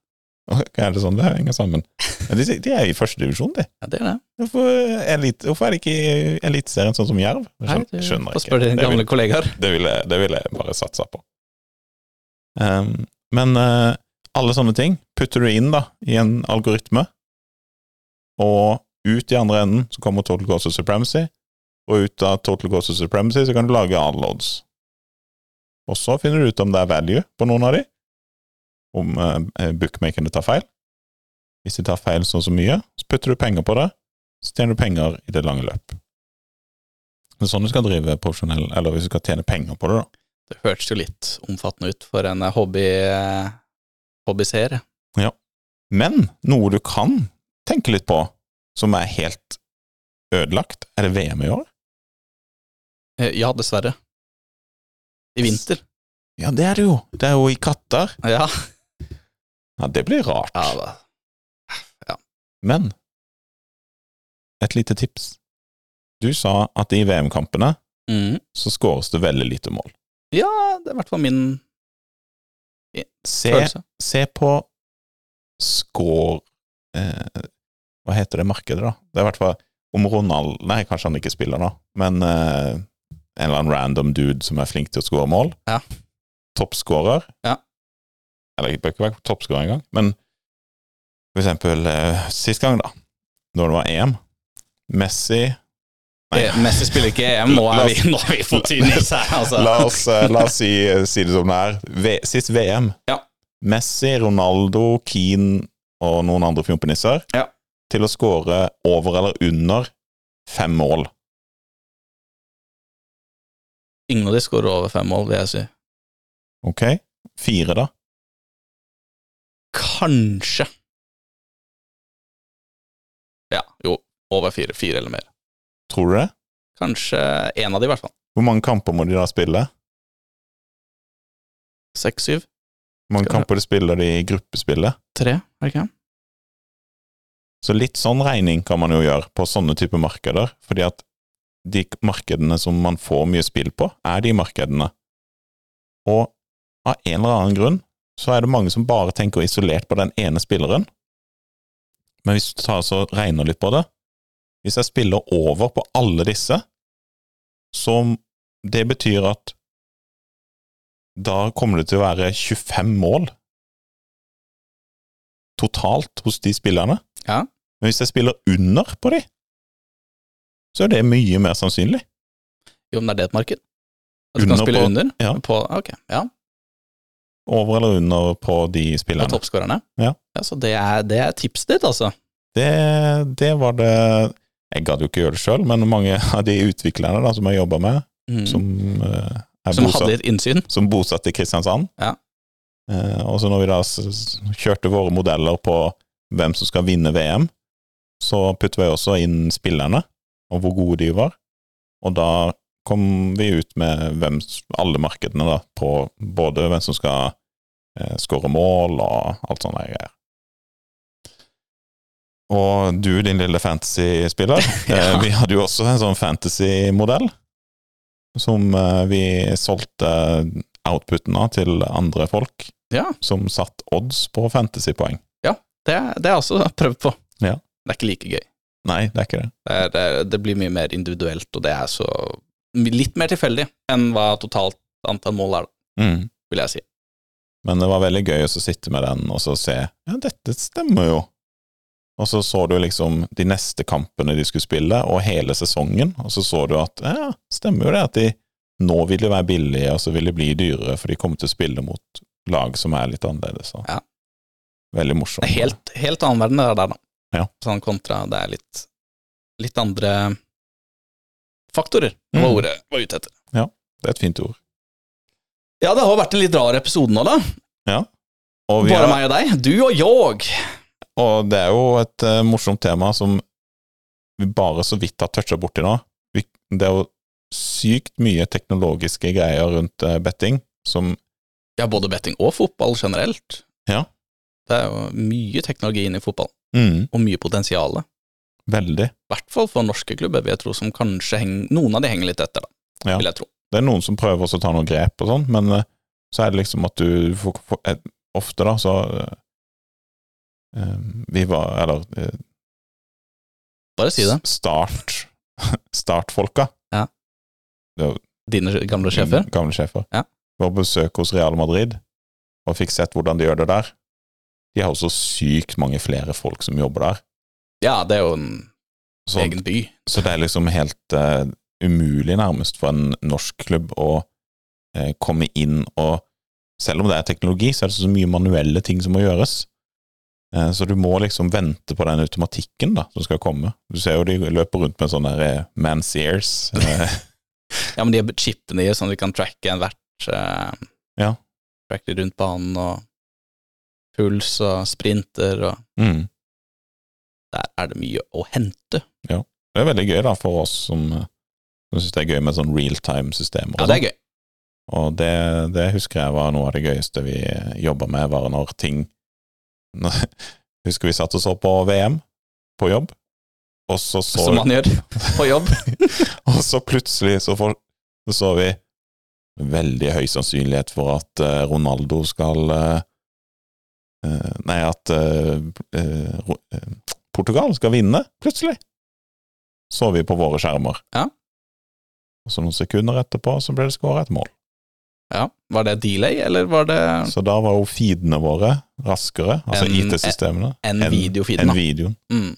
Ok, Er det sånn det henger sammen? Men De, de er i førstedivisjon, de.
Ja, det er det.
Hvorfor, elite, hvorfor er det ikke i Eliteserien sånn som Jerv? Jeg
Nei,
Skjønner, skjønner
Få spørre
ikke.
dine
Det vil-
gamle kollegaer.
Det ville, det ville jeg bare satsa på. Ehm, men eh, alle sånne ting putter du inn da, i en algoritme, og ut i andre enden så kommer Total Goals of Supremacy, og ut av Total Goals of Supremacy så kan du lage alle odds. Og så finner du ut om det er value på noen av de, om eh, bookmakerne tar feil. Hvis de tar feil sånn så mye, så putter du penger på det, så tjener du penger i det lange løp. Det er sånn du skal drive profesjonell, eller hvis du skal tjene penger på det, da.
Det hørtes jo litt omfattende ut for en eh, hobby, eh, hobbyseer.
Men noe du kan tenke litt på, som er helt ødelagt, er det VM i år?
Eh, Ja, dessverre. I vinter.
Ja, det er det jo. Det er jo i Qatar.
Ja.
Ja, det blir rart.
ja da.
Men et lite tips. Du sa at i VM-kampene
Mm.
så skåres det veldig lite mål.
ja, det er i hvert fall min
Se,
følelse.
se på score eh, Hva heter det markedet, da? Det er i hvert fall om Ronald Nei, kanskje han ikke spiller nå, men eh, en eller annen random dude som er flink til å score mål.
Ja.
Toppskårer.
Ja.
Eller jeg bør ikke være toppskårer engang, men for eksempel eh, sist gang, da, når det var EM Messi Nei.
Eh, Messi spiller ikke i EM, nå
La
er
oss-
vi, nå er vi på Tunis her, altså.
La oss, eh, la oss si, si det som det er. V sist VM.
Ja.
Messi, Ronaldo, Keane og noen andre fjompenisser
Ja.
til å skåre over eller under fem mål.
Ingen av de skårer over fem mål, vil jeg si.
Ok? Fire, da.
Kanskje. Ja, jo, over fire. Fire eller mer.
Tror du det?
Kanskje én av de, i hvert fall.
Hvor mange kamper må de da spille?
Seks-syv.
Hvor mange
Skal-
kamper de spiller de i gruppespillet?
Tre, er det ikke?
Så litt sånn regning kan man jo gjøre på sånne type markeder, fordi at de markedene som man får mye spill på, er de markedene. Og av en eller annen grunn så er det mange som bare tenker isolert på den ene spilleren. Men hvis du tar så regner litt på det Hvis jeg spiller over på alle disse, så det betyr at da kommer det til å være 25 mål totalt hos de spillerne.
Ja.
Men hvis jeg spiller under på de, så er det mye mer sannsynlig.
Jo, men det er det et marked? At du kan
Under
spille
på-
under?
ja.
På, ok, ja.
Over eller under på de
På
spillerne.
toppskårerne?
Ja.
Så det er, det er tipset ditt, altså?
Det, det var det Jeg gadd jo ikke gjøre det sjøl, men mange av de utviklerne da, som jeg jobba med,
Mm.
som eh, er
Som
bosatt
hadde et innsyn?
som bosatt i Kristiansand.
Ja.
Eh, og så når vi da s- s- kjørte våre modeller på hvem som skal vinne VM, så putter vi også inn spillerne, og hvor gode de var. Og da kom vi ut med hvem, s- alle markedene, da, på både hvem som skal eh, skåre mål og alt sånne her greier. Og du, din lille fantasy-spiller, eh,
Ja.
vi hadde jo også en sånn fantasy-modell som eh, vi solgte outputen av til andre folk,
Ja.
som satt odds på fantasypoeng.
Det, det har jeg også prøvd på.
Ja.
Det er ikke like gøy.
Nei, det er ikke det.
Det, er, det, er, det blir mye mer individuelt, og det er så litt mer tilfeldig enn hva totalt antall mål er,
Mm.
vil jeg si.
Men det var veldig gøy å så sitte med den og så se ja, dette stemmer jo. Og så så du liksom de neste kampene de skulle spille, og hele sesongen, og så så du at ja, stemmer jo det at de nå vil de være billige, og så vil de bli dyrere, for de kommer til å spille mot lag som er litt annerledes. og-
Ja.
Veldig
Det
morsomt.
er helt, helt annen verden det er der, da.
Ja.
Sånn kontra det er litt, litt andre faktorer,
Mm.
var ordet jeg var ute etter.
Det er et fint ord.
Ja, det har vært en litt rar episode nå, da.
Og vi
Bare
har-
meg og deg. Du og jeg.
Og det er jo et eh, morsomt tema som vi bare så vidt har toucha borti nå. Vi, det er jo sykt mye teknologiske greier rundt eh, betting som
Ja, både betting og fotball generelt.
Ja.
Det er jo mye teknologi inne i fotball, og mye potensial. I
Veldig.
hvert fall for norske klubber, vil jeg tro, som kanskje henger, noen av de henger litt etter, da,
Ja.
vil jeg tro.
Det er noen som prøver også å ta noen grep og sånn, men eh, så er det liksom at du får, får eh, Ofte, da, så eh, eh, Vi var Eller eh,
Bare si det.
s- Start Startfolka.
Dine gamle sjefer.
Gamle sjefer.
Ja.
Var på besøk hos Real Madrid og fikk sett hvordan de gjør det der. De har jo så sykt mange flere folk som jobber der.
Ja, det er jo en
Så,
egen by.
så det er liksom helt eh, umulig nærmest for en norsk klubb å eh, komme inn og Selv om det er teknologi, så er det så mye manuelle ting som må gjøres. Eh, så du må liksom vente på den automatikken da, som skal komme. Du ser jo de løper rundt med sånne der, eh, man's ears. Eh,
Ja, men de har chipene i, sånn at vi kan tracke enhvert eh,
Ja.
Tracke de rundt banen og puls og sprinter og
mm.
Der er det mye å hente.
Det er veldig gøy da for oss som, eh, som syns det er gøy med sånn realtime-systemer.
Ja, det er gøy.
sånn. Og det, det husker jeg var noe av det gøyeste vi jobba med, var når ting Husker vi satt og så på VM på jobb, og så, så,
Som man gjør på jobb.
og så plutselig så, for, så så vi veldig høy sannsynlighet for at eh, Ronaldo skal eh, eh, Nei, at eh, eh, Ro- eh, Portugal skal vinne, plutselig. Så vi på våre skjermer.
Ja.
Og så noen sekunder etterpå så ble det skåra et mål.
Ja. Var det delay, eller var det
Så da var jo feedene våre raskere, altså
En- eh,
IT-systemene,
en
en-
videofeed?
enn
da?
videoen.
Mm.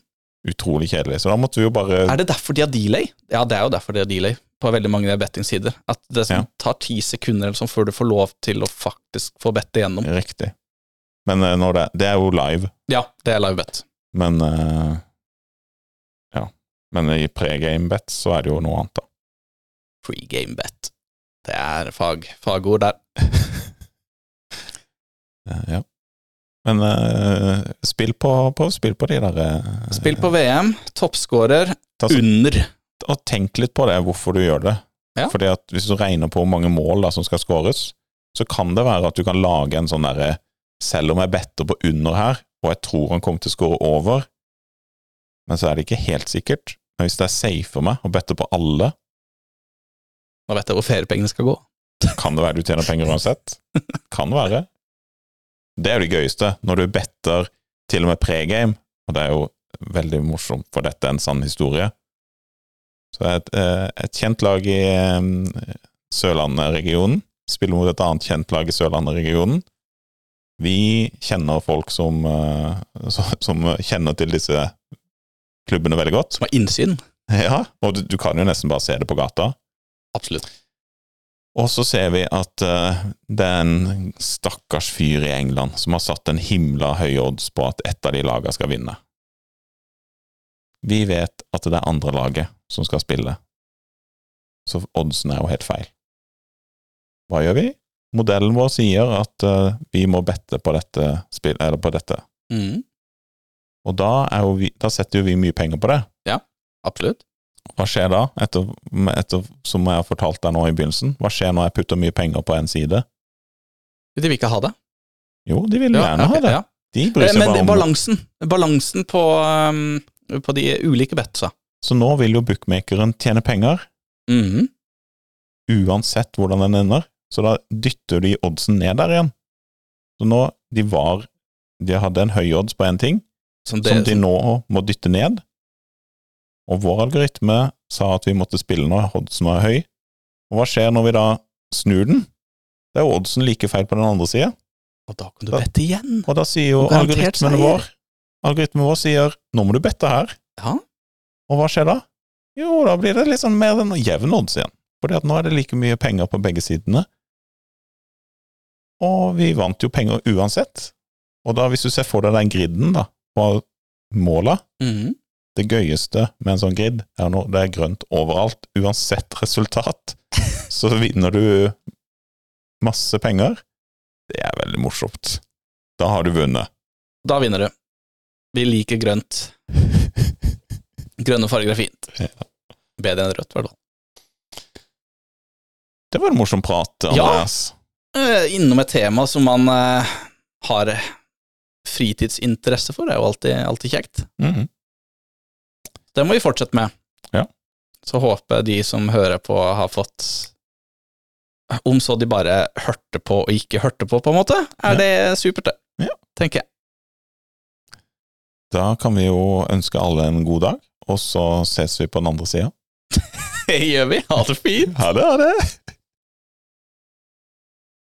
Utrolig kjedelig. Så da måtte vi jo bare
Er det derfor de har delay? Ja, det er jo derfor de har delay på veldig mange bettingsider. At det
Ja.
sånn, tar ti sekunder eller sånn før du får lov til å faktisk få bette igjennom.
Riktig. Men eh, når det, det er jo live,
Ja, det er live bet.
men eh, Ja. Men i pregame-bet så er det jo noe annet, da.
Pre-game bet. Det er fag, fagord der.
Eh, ja. Men eh, spill, på, på, spill på de der eh,
Spill på VM, toppskårer
ta så-
under.
Og tenk litt på det, hvorfor du gjør det.
Ja.
Fordi at hvis du regner på hvor mange mål da, som skal skåres, så kan det være at du kan lage en sånn derre Selv om jeg better på under her, og jeg tror han kommer til å skåre over, men så er det ikke helt sikkert. Men hvis det er safe for meg å bette på alle,
Nå vet jeg hvor feriepengene skal gå.
kan det være du tjener penger uansett. Kan være. Det er jo det gøyeste, når du better til og med pregame, og det er jo veldig morsomt, for dette er en sann historie. Så et, eh, et kjent lag i eh, Sørlandet-regionen spiller mot et annet kjent lag i Sørlandet-regionen. Vi kjenner folk som, eh, som- som kjenner til disse klubbene veldig godt
Som har innsyn.
Ja, og du, du kan jo nesten bare se det på gata.
Absolutt.
Og så ser vi at eh, det er en stakkars fyr i England som har satt en himla høy odds på at ett av de lagene skal vinne. Vi vet at det er andre laget som skal spille, så oddsen er jo helt feil. Hva gjør vi? Modellen vår sier at eh, vi må bette på dette, spill, eller på dette.
Mm,
og da, er jo vi, da setter jo vi mye penger på det.
absolutt.
Hva skjer da, etter, etter, som jeg har fortalt deg nå i begynnelsen? Hva skjer når jeg putter mye penger på én side?
De vil ikke ha det.
Jo, de vil gjerne
ok,
ha det.
ja.
De bryr
Eh,
seg
Men det-
bare om det.
balansen Balansen på, um, på de ulike betsa.
Så nå vil jo bookmakeren tjene penger, Mm.
Mhm.
uansett hvordan den ender. Så da dytter de oddsen ned der igjen. Så nå, de var De hadde en høy odds på én ting,
Som det,
som de nå må dytte ned. Og vår algoritme sa at vi måtte spille når oddsen var høy. Og hva skjer når vi da snur den? Det er jo oddsen like feil på den andre sida.
og da kan du bette igjen.
Og da sier jo
Og garantert
algoritmen
seier.
vår Algoritmen vår sier 'nå må du bette her'.
Ja.
Og hva skjer da? Jo, da blir det litt sånn mer enn jevn odds igjen. Fordi at nå er det like mye penger på begge sidene. Og vi vant jo penger uansett. Og da, hvis du ser for deg den gridden, da, på måla
Mhm.
Det gøyeste med en sånn grid er når det er grønt overalt. Uansett resultat, så vinner du masse penger. Det er veldig morsomt. Da har du vunnet.
Da vinner du. Vi liker grønt. Grønne farger er fint.
Ja.
Bedre enn rødt, i hvert fall.
Det var en morsom prat,
Ja.
Andreas.
Eh, Innom et tema som man eh, har fritidsinteresse for, er jo alltid, alltid kjekt.
Mhm.
Det må vi fortsette med.
Ja.
Så håper jeg de som hører på, har fått eh, Om så de bare hørte på og ikke hørte på, på en måte, er
Ja.
det supert, det.
Ja.
Tenker jeg.
Da kan vi jo ønske alle en god dag, og så ses vi på den andre sida.
Det gjør vi. Ha det fint.
Ha det! Ha det.